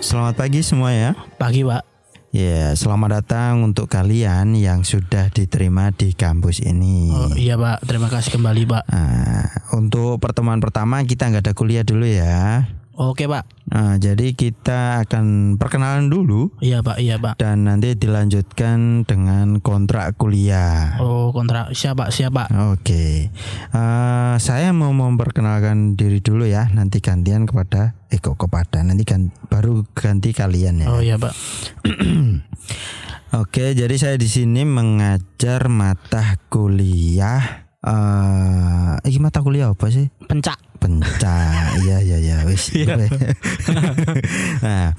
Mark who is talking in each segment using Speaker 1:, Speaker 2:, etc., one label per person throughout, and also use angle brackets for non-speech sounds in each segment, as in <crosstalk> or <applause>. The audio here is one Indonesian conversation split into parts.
Speaker 1: Selamat pagi semua ya.
Speaker 2: Pagi Pak.
Speaker 1: Ya, selamat datang untuk kalian yang sudah diterima di kampus ini.
Speaker 2: Oh, iya Pak, terima kasih kembali Pak.
Speaker 1: Nah, untuk pertemuan pertama kita nggak ada kuliah dulu ya.
Speaker 2: Oke Pak.
Speaker 1: Nah, jadi kita akan perkenalan dulu
Speaker 2: Iya Pak, iya Pak.
Speaker 1: dan nanti dilanjutkan dengan kontrak kuliah.
Speaker 2: Oh kontrak siapa siapa?
Speaker 1: Oke, Eh, saya mau memperkenalkan diri dulu ya. Nanti gantian kepada Eko kepada nanti gan- baru ganti kalian ya.
Speaker 2: Oh iya Pak.
Speaker 1: Oke, jadi saya di sini mengajar mata kuliah. Eh, ini mata kuliah apa sih?
Speaker 2: Pencak.
Speaker 1: Penca. iya iya iya wis. <laughs> nah,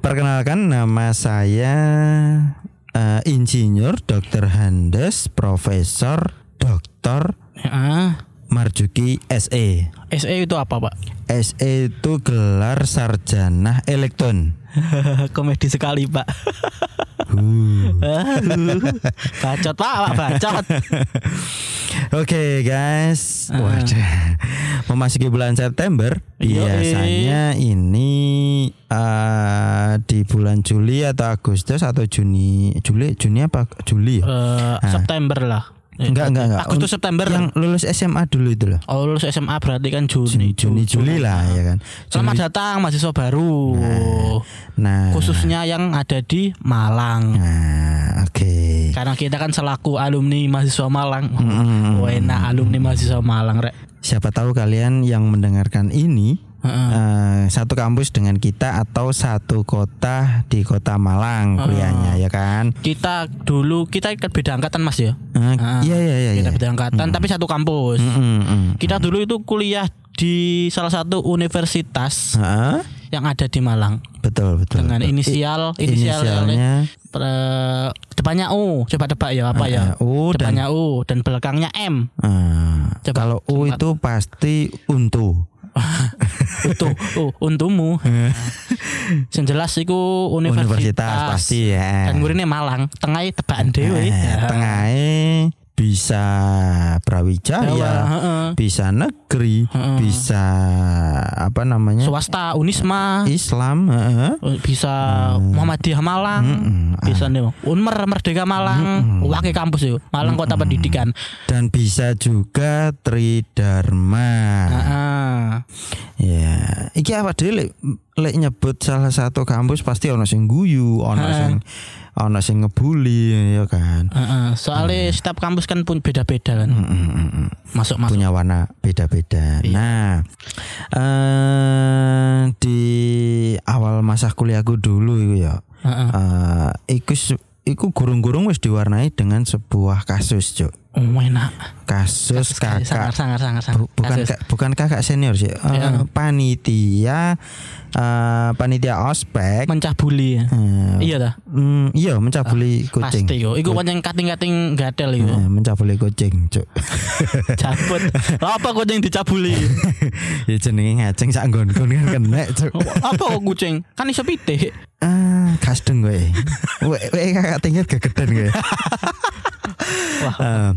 Speaker 1: perkenalkan nama saya eh, Insinyur Dr. Handes Profesor Dr.
Speaker 2: Ah,
Speaker 1: Marjuki SE.
Speaker 2: SE E itu apa Pak?
Speaker 1: SE E itu gelar sarjana elektron.
Speaker 2: <laughs> Komedi sekali Pak.
Speaker 1: Hmm.
Speaker 2: bacot Pak, Pak bacot.
Speaker 1: Oke guys, waduh, <laughs> memasuki bulan September
Speaker 2: Ah. Yoi.
Speaker 1: biasanya ini eh, di bulan Juli atau Agustus atau Juni, Juli, Juni apa Juli? ya?
Speaker 2: <laughs> Eh, September lah. Eh,
Speaker 1: Enggak, enggak, enggak.
Speaker 2: Agustus September.
Speaker 1: Yang lulus SMA dulu itu loh,
Speaker 2: Oh lulus SMA berarti kan Juni.
Speaker 1: Juni Juli lah ya kan.
Speaker 2: Selamat datang mahasiswa baru.
Speaker 1: Nah,
Speaker 2: Khususnya yang ada di Malang.
Speaker 1: nah, oke.
Speaker 2: Karena kita kan selaku alumni mahasiswa Malang.
Speaker 1: Mm-mm.
Speaker 2: Wah enak alumni mahasiswa Malang rek.
Speaker 1: Siapa tahu kalian yang mendengarkan ini
Speaker 2: Heeh.
Speaker 1: eh, satu kampus dengan kita atau satu kota di kota Malang
Speaker 2: Ah.
Speaker 1: kuliahnya ya kan?
Speaker 2: Kita dulu kita kan beda angkatan Mas ya.
Speaker 1: Eh,
Speaker 2: Ah,
Speaker 1: Iya iya iya.
Speaker 2: Kita
Speaker 1: iya.
Speaker 2: beda angkatan tapi satu kampus.
Speaker 1: Mm, mm.
Speaker 2: Kita dulu itu kuliah di salah satu universitas
Speaker 1: Heeh,
Speaker 2: yang ada di Malang
Speaker 1: betul betul.
Speaker 2: dengan
Speaker 1: betul.
Speaker 2: inisial
Speaker 1: Ah, I-
Speaker 2: inisial
Speaker 1: inisialnya
Speaker 2: eh, depannya U. Coba tebak ya apa ya?
Speaker 1: eh, U dan
Speaker 2: Depannya U dan belakangnya M.
Speaker 1: eh,
Speaker 2: Coba,
Speaker 1: kalau U
Speaker 2: coba.
Speaker 1: itu pasti untu.
Speaker 2: Utuh, oh,
Speaker 1: <laughs>
Speaker 2: untumu. Yang jelas iku universitas,
Speaker 1: Universitas pasti ya. Eh,
Speaker 2: Dan iya. gurine Malang, tengah ya, tebakan Ya. dhewe.
Speaker 1: Tengahnya bisa Brawijaya,
Speaker 2: Heeh.
Speaker 1: bisa negeri, bisa apa namanya?
Speaker 2: Swasta Unisma.
Speaker 1: Iya. Islam, heeh.
Speaker 2: bisa
Speaker 1: Hmm.
Speaker 2: Muhammadiyah Malang,
Speaker 1: Ah.
Speaker 2: bisa nih Unmer Merdeka
Speaker 1: Hmm,
Speaker 2: Malang, wakil kampus yo, Malang Kota Pendidikan.
Speaker 1: dan bisa juga Tridharma.
Speaker 2: Heeh.
Speaker 1: Ya, iki apa dhewe lek lek nyebut salah satu kampus pasti ono sing guyu, ono sing ono sing ngebully ya kan.
Speaker 2: Heeh. soalnya setiap kampus kan pun beda-beda kan.
Speaker 1: Mm, mm, mm, mm.
Speaker 2: Masuk masuk.
Speaker 1: Punya warna beda-beda. Nah, eh di awal masa kuliahku dulu iku ya.
Speaker 2: Heeh.
Speaker 1: Eh iku se- iku gurung-gurung wis diwarnai dengan sebuah kasus, Cuk.
Speaker 2: Oh, enak.
Speaker 1: Kasus, kakak
Speaker 2: Sangar sangar sangar sangar.
Speaker 1: Bu- bukan
Speaker 2: Kasus.
Speaker 1: ka- bukan kakak senior sih. Eh,
Speaker 2: Ya.
Speaker 1: panitia eh panitia ospek
Speaker 2: mencabuli. Ya.
Speaker 1: Eh,
Speaker 2: Iya dah.
Speaker 1: Hmm, iya mencabuli kucing.
Speaker 2: Pasti yo. Iku pancen kating-kating gadel yo.
Speaker 1: Eh, mencabuli kucing, cuk. <laughs>
Speaker 2: Cabut. Lah apa kucing dicabuli?
Speaker 1: ya jenenge ngaceng sak nggon-nggon kan kena, cuk.
Speaker 2: apa kok kucing? Kan iso pitik.
Speaker 1: Ah, kasdeng kowe. Kowe kowe kakak tingkat gegeden kowe.
Speaker 2: Wah.
Speaker 1: <laughs> Eh,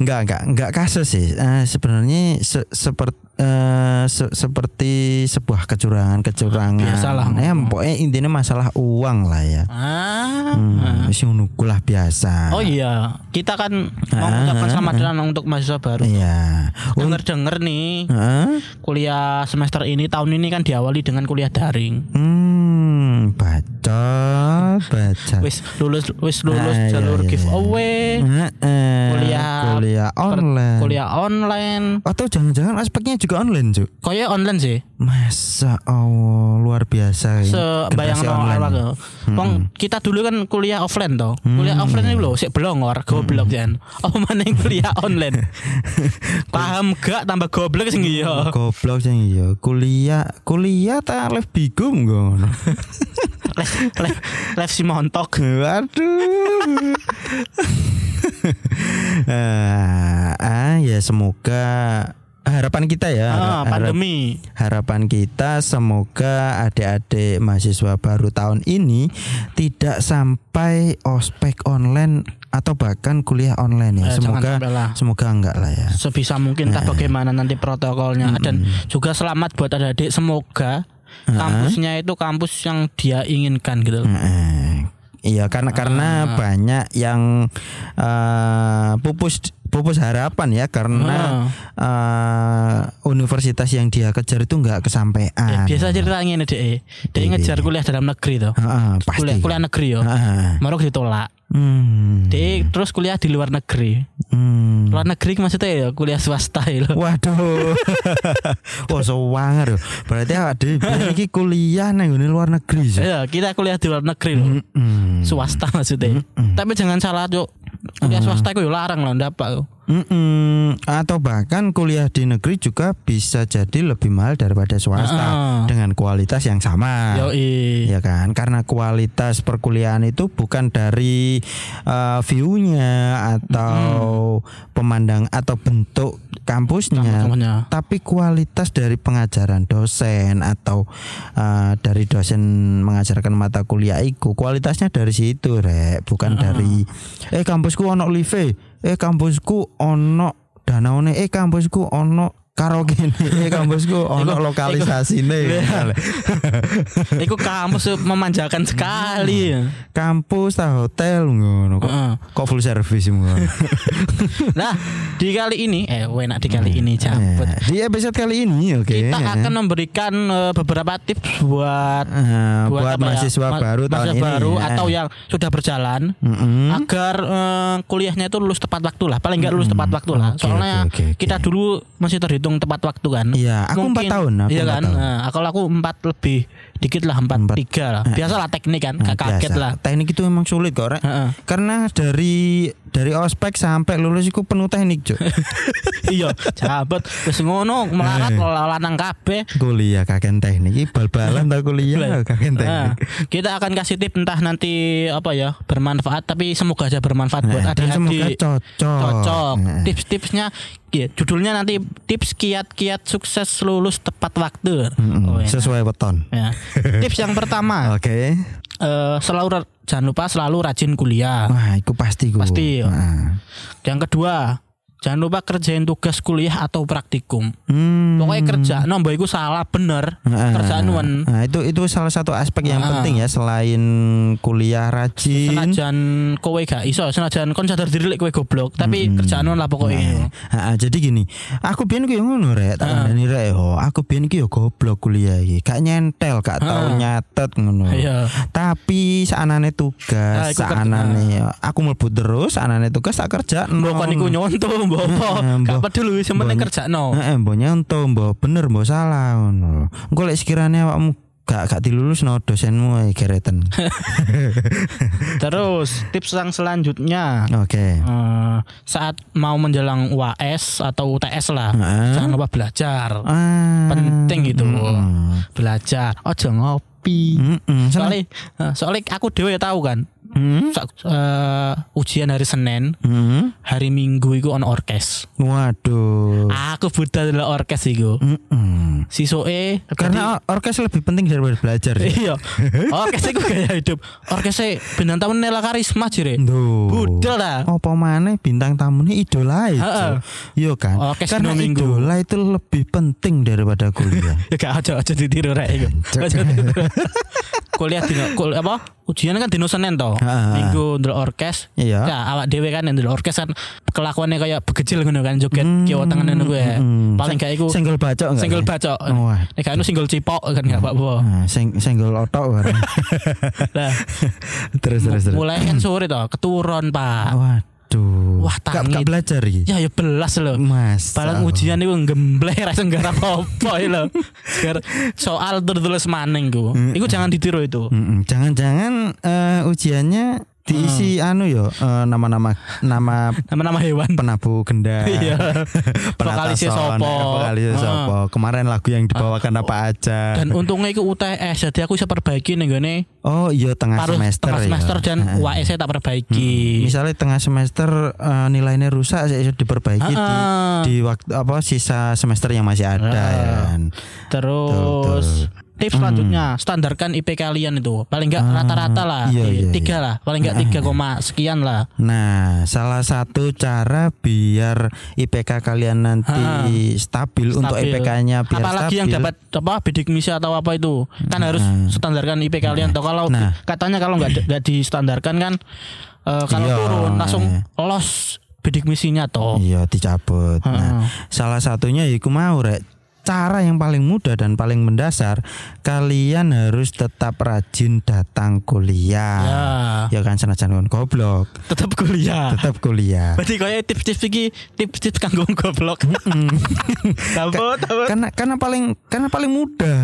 Speaker 1: enggak enggak enggak kasus sih. Eh, sebenarnya seperti seperti sebuah kecurangan-kecurangan.
Speaker 2: Biasalah.
Speaker 1: Ya, pokoknya intinya masalah uang lah ya.
Speaker 2: Ah.
Speaker 1: Hmm, wis ngono kulah biasa.
Speaker 2: Oh iya, kita kan mau mengucapkan selamat datang untuk mahasiswa baru.
Speaker 1: Ah. Iya.
Speaker 2: Dengar-dengar nih,
Speaker 1: Heeh.
Speaker 2: kuliah semester ini tahun ini kan diawali dengan kuliah daring.
Speaker 1: Hmm, bacot, bacot.
Speaker 2: Wis lulus wis lulus
Speaker 1: Ah, iya,
Speaker 2: jalur
Speaker 1: iya,
Speaker 2: giveaway,
Speaker 1: Heeh.
Speaker 2: kuliah-
Speaker 1: kuliah
Speaker 2: per-
Speaker 1: online.
Speaker 2: kuliah online.
Speaker 1: Atau jangan-jangan aspeknya juga online, Cuk.
Speaker 2: Koyo online sih.
Speaker 1: Masa Allah, luar biasa ya.
Speaker 2: Sebayang
Speaker 1: Generasi
Speaker 2: no
Speaker 1: online. Hmm.
Speaker 2: awak yo. Wong kita dulu kan kuliah offline toh. Kuliah offline ini lho sik belongor, goblok
Speaker 1: Hmm.
Speaker 2: jan. Oh mana yang kuliah
Speaker 1: <laughs>
Speaker 2: online. Paham gak tambah goblok sing
Speaker 1: <laughs>
Speaker 2: iya.
Speaker 1: Goblok sing iya. Kuliah, kuliah tak alif bigum ngono.
Speaker 2: Les les les si montok.
Speaker 1: Waduh. <laughs> Eh, ah, ya semoga harapan kita ya.
Speaker 2: Ah,
Speaker 1: harap-
Speaker 2: pandemi.
Speaker 1: Harapan kita semoga adik-adik mahasiswa baru tahun ini tidak sampai ospek online atau bahkan kuliah online ya.
Speaker 2: Eh, jangan
Speaker 1: semoga
Speaker 2: sampai lah.
Speaker 1: semoga enggak lah ya.
Speaker 2: sebisa mungkin entah bagaimana nanti protokolnya dan juga selamat buat adik-adik semoga kampusnya itu kampus yang dia inginkan gitu loh.
Speaker 1: Hmm. Heeh. Iya karena karena
Speaker 2: Ah.
Speaker 1: banyak yang eh, pupus pupus harapan ya
Speaker 2: Ah.
Speaker 1: karena eh, universitas yang dia kejar itu nggak
Speaker 2: Ya,
Speaker 1: kesampaian.
Speaker 2: biasa ceritanya ini deh. Dia ngejar kuliah dalam negeri tuh.
Speaker 1: Heeh, Ah, pasti.
Speaker 2: Kuliah kuliah negeri yo.
Speaker 1: Heeh.
Speaker 2: Marok ditolak.
Speaker 1: Hmm,
Speaker 2: Dia terus kuliah di luar negeri.
Speaker 1: hmm.
Speaker 2: Luar negeri maksudnya ya kuliah swasta ya loh.
Speaker 1: Waduh. <laughs> Wah, sewanger. Berarti ada iki kuliah nang ngene luar negeri. sih.
Speaker 2: Iya, kita kuliah di luar negeri loh.
Speaker 1: Mm-mm.
Speaker 2: Swasta maksudnya. Tapi jangan salah, Cuk. Kuliah swasta itu ya larang loh, dapat loh.
Speaker 1: Mm-mm. Atau bahkan kuliah di negeri juga bisa jadi lebih mahal daripada swasta
Speaker 2: Ah.
Speaker 1: dengan kualitas yang sama.
Speaker 2: Yoi.
Speaker 1: Ya kan, karena kualitas perkuliahan itu bukan dari eh, view-nya atau pemandang atau bentuk kampusnya,
Speaker 2: Kampusnya.
Speaker 1: tapi kualitas dari pengajaran dosen atau eh, dari dosen mengajarkan mata kuliah itu kualitasnya dari situ rek, bukan dari eh kampusku ono live, eh kampusku ono danaone, eh kampusku ono karaoke eh
Speaker 2: <laughs>
Speaker 1: kampusku ono
Speaker 2: Iya.
Speaker 1: lokalisasine. Iya,
Speaker 2: Iku kampus tuh memanjakan sekali.
Speaker 1: Iya. kampus ta hotel ngono kok
Speaker 2: Heeh.
Speaker 1: kok full service ngono.
Speaker 2: Nah, di kali ini eh enak di kali ini cabut.
Speaker 1: Ya, Di episode kali ini oke.
Speaker 2: Kita akan memberikan eh, beberapa tips buat
Speaker 1: Eh, buat,
Speaker 2: apa ya?
Speaker 1: mahasiswa
Speaker 2: Ma-
Speaker 1: baru tahun
Speaker 2: mahasiswa
Speaker 1: ini. Hmm?
Speaker 2: baru
Speaker 1: ya.
Speaker 2: atau yang sudah berjalan
Speaker 1: Mm-mm.
Speaker 2: agar eh, kuliahnya itu lulus tepat waktu lah paling nggak lulus tepat waktu lah
Speaker 1: Hmm. Oke,
Speaker 2: soalnya
Speaker 1: oke, oke, oke.
Speaker 2: kita dulu masih terhitung tepat waktu kan
Speaker 1: Iya, aku
Speaker 2: Mungkin-
Speaker 1: empat tahun, aku
Speaker 2: iya
Speaker 1: empat
Speaker 2: kan
Speaker 1: tahun.
Speaker 2: Nah, kalau aku empat lebih dikit lah empat,
Speaker 1: Empat.
Speaker 2: tiga lah biasalah teknik kan
Speaker 1: Nah,
Speaker 2: nggak kaget
Speaker 1: biasa.
Speaker 2: lah
Speaker 1: Teknik itu memang sulit kok, Rek.
Speaker 2: Heeh.
Speaker 1: Karena dari dari ospek sampai lulus itu penuh teknik,
Speaker 2: <laughs>
Speaker 1: Cuk.
Speaker 2: iya jabat terus ngono melarat
Speaker 1: Eh.
Speaker 2: lanang kabeh
Speaker 1: kuliah kakek teknik, Ih, bal-balan tak kuliah kakek teknik.
Speaker 2: Nah, kita akan kasih tips entah nanti apa ya bermanfaat tapi semoga aja bermanfaat buat
Speaker 1: Nah, dan semoga
Speaker 2: adik-adik
Speaker 1: cocok.
Speaker 2: cocok
Speaker 1: Nah.
Speaker 2: tips-tipsnya ya, judulnya nanti tips kiat-kiat sukses lulus tepat waktu
Speaker 1: Mm-mm,
Speaker 2: Oh, Ah. ya.
Speaker 1: Sesuai weton. <laughs>
Speaker 2: Ya. tips yang pertama
Speaker 1: Oke.
Speaker 2: eh, selalu ra- jangan lupa selalu rajin kuliah
Speaker 1: Wah, itu pasti gue.
Speaker 2: Pasti, ya.
Speaker 1: Nah.
Speaker 2: yang kedua jangan lupa kerjain tugas kuliah atau praktikum
Speaker 1: Hmm.
Speaker 2: pokoknya kerja nomor itu salah bener
Speaker 1: Ah,
Speaker 2: kerjaan wen
Speaker 1: Nah, itu itu salah satu aspek yang
Speaker 2: Hmm. Ah.
Speaker 1: penting ya selain kuliah rajin.
Speaker 2: senajan kowe gak iso senajan kon sadar diri lek kowe goblok tapi kerjaan on lah pokoknya
Speaker 1: Ah, ah, jadi gini, aku biyen ku yo ngono rek, tak kandhani rek yo. Aku biyen ku yo goblok kuliah iki, gak nyentel, gak tau nyatet ngono.
Speaker 2: Iya.
Speaker 1: Tapi saanane
Speaker 2: Ah,
Speaker 1: tugas,
Speaker 2: iku kerja-
Speaker 1: saanane aku mlebu terus, saanane tugas tak kerja.
Speaker 2: mbok kon iku
Speaker 1: <laughs>
Speaker 2: nyonto mbok apa
Speaker 1: Heeh,
Speaker 2: gak
Speaker 1: Mm. Nah, mbok.
Speaker 2: peduli sementing
Speaker 1: <laughs>
Speaker 2: kerjakno
Speaker 1: Heeh, mbok nyonto, mbok bener, mbok salah ngono. Engko lek sekiranya awakmu gak gak dilulus no dosenmu eh,
Speaker 2: <laughs>
Speaker 1: gereten.
Speaker 2: terus tips yang selanjutnya
Speaker 1: Oke.
Speaker 2: eh, saat mau menjelang UAS atau UTS lah
Speaker 1: Heeh.
Speaker 2: jangan lupa belajar
Speaker 1: Nah. Ah. Hmm.
Speaker 2: penting itu
Speaker 1: Mm-mm.
Speaker 2: belajar ojo ngopi
Speaker 1: Mm-mm, seneng.
Speaker 2: soalnya eh, soalnya aku dewe ya tahu kan
Speaker 1: Hmm?
Speaker 2: sa- eh, ujian hari Senin
Speaker 1: Hmm?
Speaker 2: hari Minggu iku on orkes
Speaker 1: Waduh.
Speaker 2: aku buta adalah orkes iku
Speaker 1: Mm-mm.
Speaker 2: sisoke
Speaker 1: Karena or- orkes lebih penting daripada belajar. ya?
Speaker 2: <laughs> iya orkes iku gaya hidup orkes e bintang tamu Nela Karisma jire
Speaker 1: Duh.
Speaker 2: budal lah
Speaker 1: Apa maneh bintang tamune idola itu.
Speaker 2: Heeh.
Speaker 1: Iya kan?
Speaker 2: Orkes
Speaker 1: Karena
Speaker 2: dua minggu.
Speaker 1: idola itu lebih penting daripada
Speaker 2: <laughs>
Speaker 1: kuliah.
Speaker 2: ya gak aja aja ditiru rek iku Aja ditiru. kuliah dino kul, apa ujian kan dino Senin to
Speaker 1: Heeh.
Speaker 2: minggu ndelok orkes
Speaker 1: Iya.
Speaker 2: Ya, awak dhewe kan yang ndelok orkes kan kelakuannya kayak begejil ngono kan joget kiwa tangan ngono kuwi. ya.
Speaker 1: Mm-mm.
Speaker 2: Paling gak iku
Speaker 1: Senggol bacok enggak? Oh.
Speaker 2: single bacok.
Speaker 1: Wah.
Speaker 2: Nek gak ono single cipok kan gak apa-apa.
Speaker 1: Nah, seng- senggol otok
Speaker 2: <laughs>
Speaker 1: bareng.
Speaker 2: Lah,
Speaker 1: terus terus terus.
Speaker 2: mulai kan sore to, keturun, Pak.
Speaker 1: Waduh.
Speaker 2: Wah,
Speaker 1: Gak- gak
Speaker 2: tangi.
Speaker 1: belajar iki.
Speaker 2: Ya ya belas loh.
Speaker 1: Mas.
Speaker 2: Barang ujian itu ngembleh rasa nggak apa-apa ya lho. Segar- Soal tertulis maning ku.
Speaker 1: Mm.
Speaker 2: Iku jangan ditiru itu.
Speaker 1: Mm-mm. Jangan-jangan eh, ujiannya diisi
Speaker 2: Hmm.
Speaker 1: anu yo eh, nama-nama
Speaker 2: <laughs>
Speaker 1: nama
Speaker 2: Nama-nama
Speaker 1: <laughs>
Speaker 2: hewan.
Speaker 1: penabuh gendang.
Speaker 2: Iya.
Speaker 1: <laughs>
Speaker 2: Vokalisnya
Speaker 1: Vokalisnya
Speaker 2: sopo.
Speaker 1: Vokalisnya
Speaker 2: Ah.
Speaker 1: sopo. Kemarin lagu yang dibawakan apa aja.
Speaker 2: Dan untungnya iku UTS jadi aku bisa perbaiki nih gini.
Speaker 1: oh iya tengah
Speaker 2: Paruh
Speaker 1: semester.
Speaker 2: tengah
Speaker 1: ya.
Speaker 2: semester dan
Speaker 1: Heeh.
Speaker 2: UAS saya tak perbaiki.
Speaker 1: Misalnya tengah semester eh, nilainya rusak saya bisa diperbaiki di,
Speaker 2: Heeh. Ah.
Speaker 1: di waktu apa sisa semester yang masih ada. ya kan.
Speaker 2: Terus tips selanjutnya standarkan IP kalian itu paling enggak rata-rata lah
Speaker 1: iya,
Speaker 2: eh,
Speaker 1: iya,
Speaker 2: tiga lah paling enggak tiga koma sekian lah
Speaker 1: Nah, salah satu cara biar IPK kalian nanti stabil, untuk
Speaker 2: Ah. Stabil.
Speaker 1: IPK-nya biar
Speaker 2: apalagi
Speaker 1: stabil.
Speaker 2: yang dapat apa bidik misi atau apa itu kan harus standarkan IP kalian atau kalau
Speaker 1: Nah.
Speaker 2: katanya kalau nggak nggak distandarkan kan eh, kalau
Speaker 1: Iya.
Speaker 2: turun langsung lolos bidik misinya toh
Speaker 1: Iya, dicabut.
Speaker 2: Ah.
Speaker 1: Nah, salah satunya iku mau rek cara yang paling mudah dan paling mendasar kalian harus tetap rajin datang kuliah. Ya, kan senajan kon goblok,
Speaker 2: Nah. tetap kuliah
Speaker 1: tetap
Speaker 2: <laughs>
Speaker 1: kuliah.
Speaker 2: berarti kayak tips-tips iki tips-tips kanggo goblok <laughs> tabut tabut
Speaker 1: karena karena paling karena paling mudah.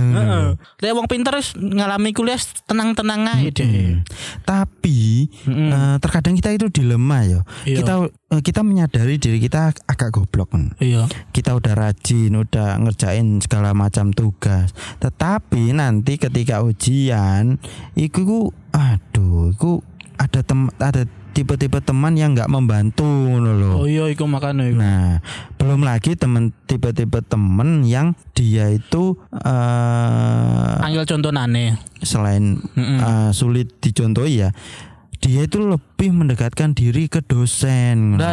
Speaker 2: Lah wong pinter wis ngalami kuliah tenang-tenang aja deh.
Speaker 1: Tapi eh, terkadang kita itu dilema ya.
Speaker 2: Iya.
Speaker 1: Kita eh, kita menyadari diri kita agak goblok. kan.
Speaker 2: Iya.
Speaker 1: Kita udah rajin, udah ngerjain segala macam tugas. Tetapi nanti ketika ujian, iku ku aduh, iku ada tem ada tipe-tipe teman yang nggak membantu ngono lho.
Speaker 2: Oh iya iku makane iku.
Speaker 1: Nah, belum lagi temen tipe-tipe temen yang dia itu eh
Speaker 2: Angel contonane.
Speaker 1: selain uh, sulit dicontohi ya dia itu lebih mendekatkan diri ke dosen ngono loh.
Speaker 2: Lah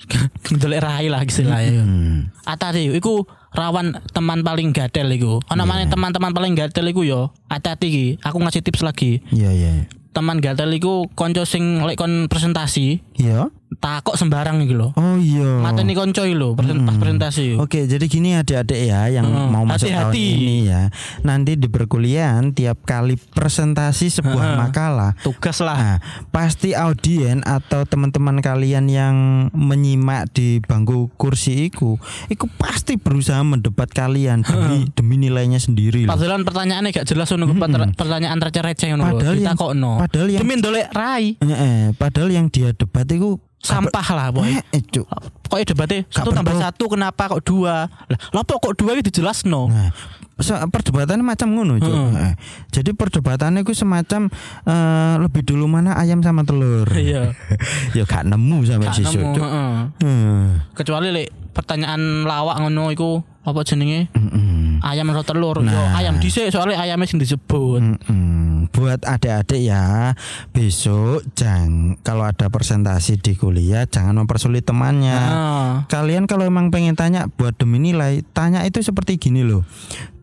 Speaker 2: <laughs> iku ndelek rai lah istilahnya.
Speaker 1: Hmm.
Speaker 2: Atati iku rawan teman paling gatel iku. Ana maneh
Speaker 1: Iya.
Speaker 2: teman-teman paling gatel iku yo. Atati iki, aku ngasih tips lagi.
Speaker 1: iya iya
Speaker 2: Teman gatel iku konco sing lek kon presentasi
Speaker 1: iya
Speaker 2: takok sembarang iki lho.
Speaker 1: oh Hmm. iya
Speaker 2: Mateni konco iki lho presen- pas presentasi.
Speaker 1: Oke, jadi gini adik-adik ya yang
Speaker 2: Hmm,
Speaker 1: mau masuk tahun
Speaker 2: Iya. hati-hati.
Speaker 1: ini ya. Nanti di perkuliahan tiap kali presentasi sebuah makalah,
Speaker 2: Tugas lah.
Speaker 1: nah, pasti audien atau teman-teman kalian yang menyimak di bangku kursi iku, iku pasti berusaha mendebat kalian demi demi nilainya sendiri. loh.
Speaker 2: Padahal pertanyaannya gak jelas ngono per- pertanyaan receh-receh ngono.
Speaker 1: Hmm. Padahal yang-
Speaker 2: ditakokno.
Speaker 1: padahal yang-
Speaker 2: demi ndolek rai
Speaker 1: Eh, eh, padahal yang dia debat itu
Speaker 2: sampah lah boy.
Speaker 1: eh, eh, Cuk.
Speaker 2: Kok debatnya satu tambah
Speaker 1: perlu.
Speaker 2: satu kenapa kok dua? Lah, lopo kok dua itu jelas no.
Speaker 1: Nah, se- perdebatannya macam ngono, Cuk. Eh, Jadi perdebatannya itu semacam eh, lebih dulu mana ayam sama telur.
Speaker 2: Iya.
Speaker 1: <laughs> ya gak nemu sampai
Speaker 2: Gak
Speaker 1: sisu,
Speaker 2: nemu,
Speaker 1: Cuk.
Speaker 2: heeh.
Speaker 1: Hmm,
Speaker 2: Kecuali lek pertanyaan lawak ngono iku apa jenenge? Ayam atau telur? Yo, ayam dhisik soalnya ayamnya sing disebut.
Speaker 1: mm-mm. Buat adik-adik ya Besok jang, Kalau ada presentasi di kuliah Jangan mempersulit temannya
Speaker 2: Nah,
Speaker 1: Kalian kalau emang pengen tanya Buat demi nilai Tanya itu seperti gini loh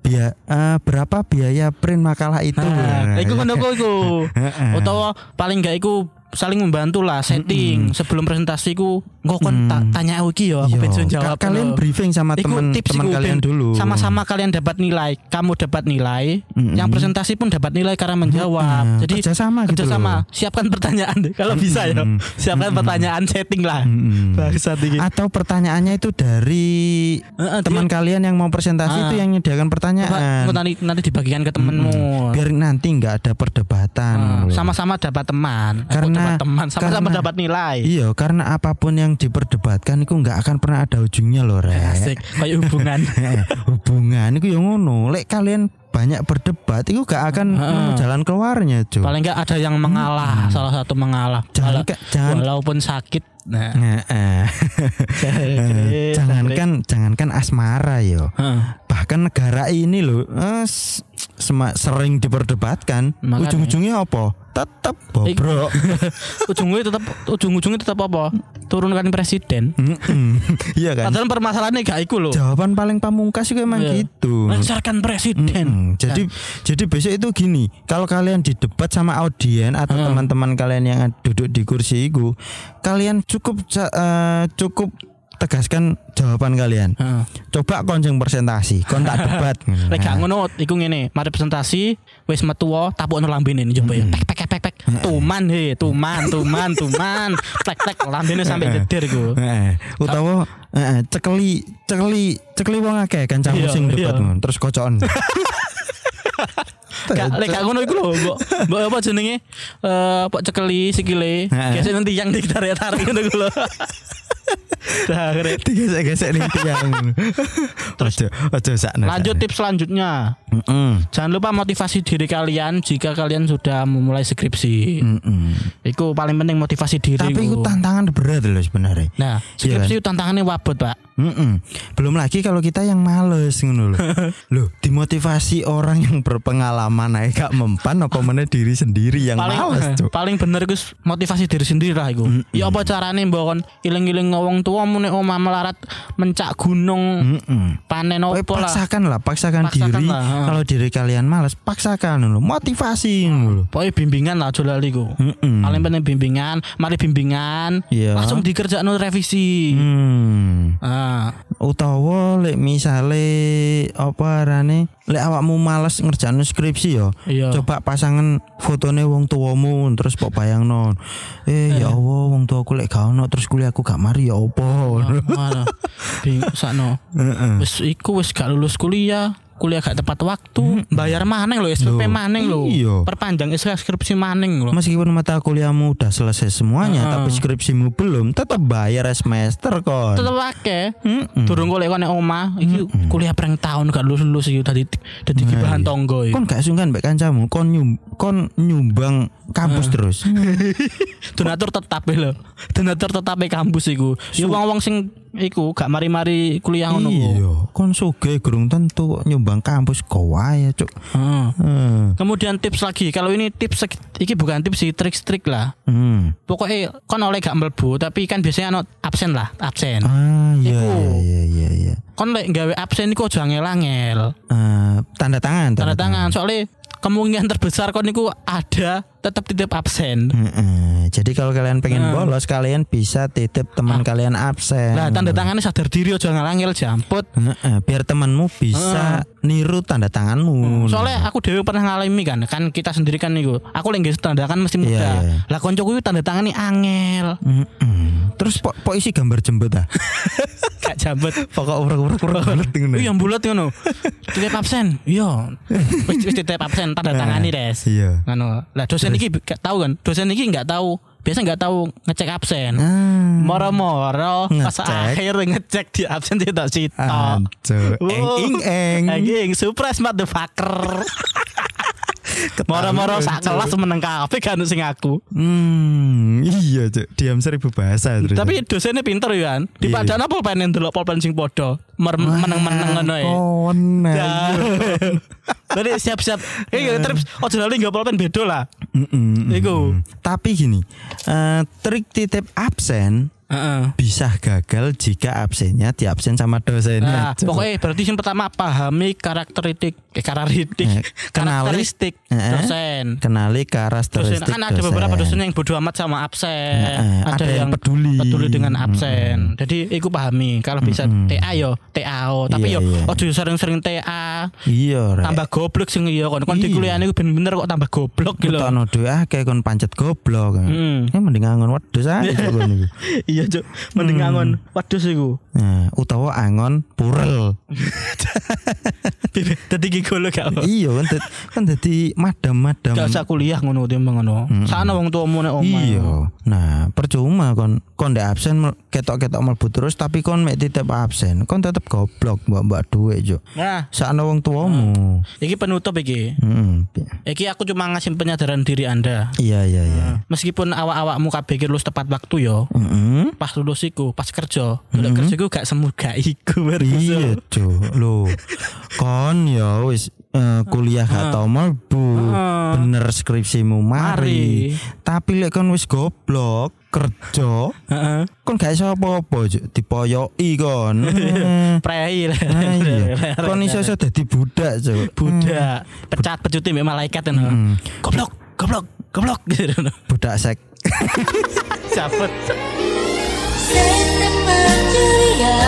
Speaker 1: Bia, eh, Berapa biaya print makalah itu
Speaker 2: nah,
Speaker 1: Nah,
Speaker 2: iku
Speaker 1: ya
Speaker 2: ngono kok
Speaker 1: <laughs>
Speaker 2: iku. Utawa paling gak iku saling membantu lah setting sebelum presentasi ku kok kon ta- tanya aku iki yo aku
Speaker 1: Yo,
Speaker 2: ben
Speaker 1: Iya.
Speaker 2: suwe
Speaker 1: ka-
Speaker 2: jawab
Speaker 1: kalian
Speaker 2: lho.
Speaker 1: briefing sama
Speaker 2: Iku
Speaker 1: teman
Speaker 2: tips
Speaker 1: teman
Speaker 2: iku,
Speaker 1: kalian
Speaker 2: Ben.
Speaker 1: dulu.
Speaker 2: Sama-sama kalian dapat nilai, kamu dapat nilai, yang presentasi pun dapat nilai karena menjawab.
Speaker 1: Mm-mm.
Speaker 2: Jadi
Speaker 1: Kerjasama gitu
Speaker 2: kerjasama.
Speaker 1: loh.
Speaker 2: Siapkan pertanyaan deh, kalau bisa ya. Siapkan pertanyaan setting lah.
Speaker 1: Mm-mm.
Speaker 2: Bangsat iki.
Speaker 1: Atau pertanyaannya itu dari
Speaker 2: Heeh,
Speaker 1: teman kalian yang mau presentasi itu yang menyediakan
Speaker 2: Ah, Coba engko
Speaker 1: pertanyaan.
Speaker 2: nanti nanti dibagikan ke temenmu.
Speaker 1: Biar nanti nggak ada perdebatan.
Speaker 2: Nah,
Speaker 1: loh.
Speaker 2: Sama-sama dapat teman, Aku
Speaker 1: Karena-
Speaker 2: dapat teman, sama-sama
Speaker 1: karena-
Speaker 2: dapat nilai.
Speaker 1: Iya, karena apapun yang diperdebatkan itu nggak akan pernah ada ujungnya loh, Rek. Eh,
Speaker 2: Asik, kayak
Speaker 1: <laughs>
Speaker 2: hubungan.
Speaker 1: Hubungan itu yang ngono. Lek kalian banyak berdebat itu gak akan nemu jalan keluarnya, Cuk.
Speaker 2: Ah. Paling enggak ada yang mengalah, salah satu mengalah.
Speaker 1: Jangan
Speaker 2: Wala-
Speaker 1: ke- jangan-
Speaker 2: walaupun sakit. Nah.
Speaker 1: <laughs> Heeh. <laughs> Eh, jangankan jangankan asmara yo
Speaker 2: Heeh.
Speaker 1: bahkan negara ini loh eh, s- sema- sering diperdebatkan
Speaker 2: Makanya.
Speaker 1: ujung-ujungnya apa tetap bobrok
Speaker 2: <laughs> ujungnya tetap ujung-ujungnya tetap apa? Turunkan presiden.
Speaker 1: Mm-mm. <laughs> iya kan
Speaker 2: Padahal permasalahannya gak iku loh.
Speaker 1: jawaban paling pamungkas juga emang
Speaker 2: Iya. Nah.
Speaker 1: gitu
Speaker 2: Lancarkan presiden.
Speaker 1: Mm, jadi jadi besok itu gini kalau kalian didebat sama audien atau teman-teman kalian yang duduk di kursi itu kalian cukup ca- eh, cukup tegaskan jawaban kalian
Speaker 2: Heeh.
Speaker 1: coba konjeng presentasi kon tak
Speaker 2: <laughs>
Speaker 1: debat
Speaker 2: Nah. Lek gak ngono iku ngene, mari presentasi wis metu wae tapukno lambene ini coba ya. Pek pek pek pek. Tuman he, tuman, tuman,
Speaker 1: <laughs>
Speaker 2: tuman. Tek tek lambene sampe jejer iku.
Speaker 1: Heeh. Eh, utawa heeh, cekeli cekeli cekeli wong akeh kancamu
Speaker 2: Iya,
Speaker 1: sing debat
Speaker 2: iya.
Speaker 1: ngono terus
Speaker 2: <laughs>
Speaker 1: kocokon
Speaker 2: Gak lek gak ngono iku lho, mbok mbok apa jenenge? Eh pok cekeli sikile.
Speaker 1: Heeh.
Speaker 2: Gesek nanti yang ditarik-tarik ngono iku
Speaker 1: <laughs>
Speaker 2: lho. Dah, keren.
Speaker 1: digesek-gesek ning
Speaker 2: <laughs>
Speaker 1: tiang terus aja sakno
Speaker 2: Lanjut tips selanjutnya.
Speaker 1: heeh
Speaker 2: Jangan lupa motivasi diri kalian jika kalian sudah memulai skripsi. Iku paling penting motivasi diri.
Speaker 1: Hmm. tapi Iya itu
Speaker 2: ku.
Speaker 1: tantangan berat loh sebenarnya kan?
Speaker 2: Nah, skripsi tantangannya wabot, Pak.
Speaker 1: Mm-mm. Belum lagi kalau kita yang males ngono
Speaker 2: <laughs>
Speaker 1: lho. Loh, dimotivasi orang yang berpengalaman ae gak mempan apa meneh diri sendiri yang
Speaker 2: paling <laughs>
Speaker 1: males, Cuk. Hmm.
Speaker 2: paling bener iku motivasi diri sendiri lah iku. Ya apa carane mbok kon iling-iling wong tua mune omah melarat mencak gunung
Speaker 1: Mm-mm.
Speaker 2: panen
Speaker 1: Pokoknya
Speaker 2: opo lah.
Speaker 1: paksakan lah, paksakan,
Speaker 2: Paksakan
Speaker 1: diri.
Speaker 2: lah, ha.
Speaker 1: Kalau diri kalian males, paksakan ngono lho. Motivasi ngono lho.
Speaker 2: Pokoknya bimbingan lah aja lali iku.
Speaker 1: Mm-mm.
Speaker 2: Paling penting bimbingan, mari bimbingan,
Speaker 1: Hmm. Iya.
Speaker 2: langsung dikerjakno revisi.
Speaker 1: Hmm.
Speaker 2: Ah,
Speaker 1: utawa lek misale apa arane lek awakmu males ngerjain skripsi ya
Speaker 2: Iya.
Speaker 1: coba pasangan fotone wong tuamu terus pok bayangno eh ya Allah wong tuaku lek gak ono terus kuliahku gak mari ya opo
Speaker 2: mana bing sakno. Wis iku wis gak lulus kuliah kuliah gak tepat waktu bayar maning lho SPP
Speaker 1: Loh,
Speaker 2: maning lho
Speaker 1: iya.
Speaker 2: perpanjang skripsi maning lho
Speaker 1: meskipun mata kuliahmu udah selesai semuanya tapi skripsimu belum tetap bayar semester kon
Speaker 2: tetep akeh. Durung golek kone omah, iki kuliah perang tahun gak lulus-lulus iki dadi dadi bahan tonggo
Speaker 1: Nah, iya.
Speaker 2: iki.
Speaker 1: kon gak sungkan mbek kancamu kon nyum- kon nyumbang
Speaker 2: Eh.
Speaker 1: kampus terus
Speaker 2: Hmm. Donatur tetap e lho. Donatur tetap e kampus iku. Ya wong-wong sing iku gak mari-mari kuliah ngono ku.
Speaker 1: iya kon suge gerung tentu kok nyumbang kampus kowe ya cuk
Speaker 2: Heeh.
Speaker 1: Hmm.
Speaker 2: Kemudian tips lagi, kalau ini tips iki bukan tips sih, trik-trik lah.
Speaker 1: Hmm.
Speaker 2: Pokoknya kon oleh gak mlebu, tapi kan biasanya ono absen lah, absen.
Speaker 1: Ah iya
Speaker 2: Iku.
Speaker 1: iya iya iya iya.
Speaker 2: Kon lek gawe absen iku aja angel-angel.
Speaker 1: Eh, tanda tangan
Speaker 2: Tanda tangan, soalnya kemungkinan terbesar kon niku ada tetap titip absen.
Speaker 1: Hmm. Heeh. Jadi kalau kalian pengen bolos kalian bisa titip teman kalian absen.
Speaker 2: Hmm. Ah. Lah tanda tangannya sadar diri aja ngalangil jamput.
Speaker 1: Heeh, biar temanmu bisa niru tanda tanganmu.
Speaker 2: Ah. Hmm, Soalnya aku dewe pernah ngalami kan, kan kita sendiri kan niku. Aku lagi tanda tangan mesti muda.
Speaker 1: Iya, iya.
Speaker 2: Lah koncoku itu tanda tangan nih angel. <laughs>
Speaker 1: Heeh. Terus po, po isi gambar jembut ah.
Speaker 2: Gak jambut.
Speaker 1: <laughs> Pokok urek-urek urek
Speaker 2: Wih Oh, yang bulat
Speaker 1: <laughs>
Speaker 2: ngono. Titip absen. Iya. Wis wis titip absen tanda tangan nih, Res.
Speaker 1: Nah, Iya.
Speaker 2: Ngono. Lah dosen iki gak tahu kan. Dosen iki gak tahu. Biasa gak tahu ngecek absen.
Speaker 1: Ah.
Speaker 2: Moro-moro pas
Speaker 1: Ngecek.
Speaker 2: akhir ngecek di absen tidak sitok.
Speaker 1: Ancur.
Speaker 2: Oh.
Speaker 1: Eng ing eng.
Speaker 2: Anjing, surprise
Speaker 1: <laughs>
Speaker 2: motherfucker. Moro-moro sak kelas meneng kafe kan sing aku.
Speaker 1: Hmm, iya cuk. Diam seribu bahasa terus.
Speaker 2: Tapi dosennya pinter ya kan.
Speaker 1: Iya.
Speaker 2: Dipadana pulpen yang delok pulpen sing podo. Mer- Meneng-meneng ngono ya.
Speaker 1: kon. nah, iya.
Speaker 2: Dah. <laughs> Jadi siap-siap. Eh, terus ojo lali nggak pulpen bedo lah.
Speaker 1: Hmm.
Speaker 2: Iku.
Speaker 1: Tapi gini, eh, trik titip absen
Speaker 2: Heeh.
Speaker 1: bisa gagal jika absennya di absen sama dosennya.
Speaker 2: Nah,
Speaker 1: Cuk.
Speaker 2: pokoknya berarti yang pertama pahami karakteristik, eh, karakteristik,
Speaker 1: Eh, kenali.
Speaker 2: karakteristik
Speaker 1: Eh,
Speaker 2: dosen.
Speaker 1: kenali karakteristik
Speaker 2: dosen
Speaker 1: dosen.
Speaker 2: kan ada beberapa dosen yang bodoh amat sama absen
Speaker 1: Heeh, ada yang peduli. Hmm,
Speaker 2: dengan absen jadi iku pahami kalau bisa TA yo TAO tapi
Speaker 1: Iya,
Speaker 2: yo
Speaker 1: iya.
Speaker 2: ojo sering-sering TA
Speaker 1: Iya, rek.
Speaker 2: tambah goblok sing yo kon kon di
Speaker 1: Iya.
Speaker 2: kuliah niku bener-bener kok tambah goblok gitu
Speaker 1: Kita
Speaker 2: loh
Speaker 1: ono duwe akeh ah, kon pancet goblok.
Speaker 2: Hmm.
Speaker 1: Eh mending angon wedhus ae cuk, kon
Speaker 2: <laughs>
Speaker 1: iku.
Speaker 2: <laughs> iya cuk
Speaker 1: Hmm.
Speaker 2: mending ngangon waduh iku
Speaker 1: Nah, utawa angon purel.
Speaker 2: Bibit- dadi gigolo gak apa
Speaker 1: iya kan dad- kan dadi madam-madam.
Speaker 2: gak usah kuliah ngono timbang ngono sana wong tuamu nek omah
Speaker 1: Iya. Nah, percuma kon kon ndek absen mel- ketok-ketok mlebu terus tapi kon mek titip absen, kon tetep goblok mbak-mbak duwe yo.
Speaker 2: nah
Speaker 1: Sakno wong tuamu.
Speaker 2: iki penutup iki
Speaker 1: Mm-mm.
Speaker 2: iki aku cuma ngasih penyadaran diri anda
Speaker 1: Iya iya iya.
Speaker 2: meskipun awak-awakmu kabeh iki lulus tepat waktu yo
Speaker 1: Mm-mm.
Speaker 2: pas lulus iku pas kerja golek kerja iku gak semu gak iku
Speaker 1: Iya
Speaker 2: barusan
Speaker 1: cu Loh Kon ya wis eh, kuliah gak tau mlebu. Bener skripsimu mari.
Speaker 2: Mari.
Speaker 1: Tapi lek kon wis goblok kerja
Speaker 2: Heeh.
Speaker 1: kon gak iso apa-apa Cuk. dipoyoki kon. Eh.
Speaker 2: prei
Speaker 1: Nah, iya. Kon iso iso dadi budak, Cuk.
Speaker 2: <laughs> budak pecat pecuti mbek malaikat ngono goblok goblok goblok <laughs> gitu
Speaker 1: Budak sek.
Speaker 2: Cabut.
Speaker 3: September ceria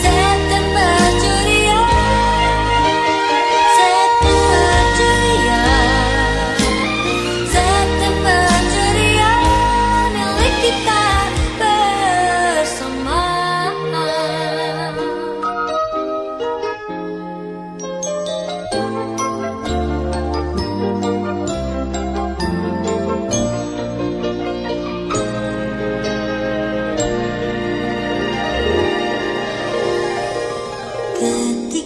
Speaker 3: September ceria September ceria September ceria milik kita bersama Ketika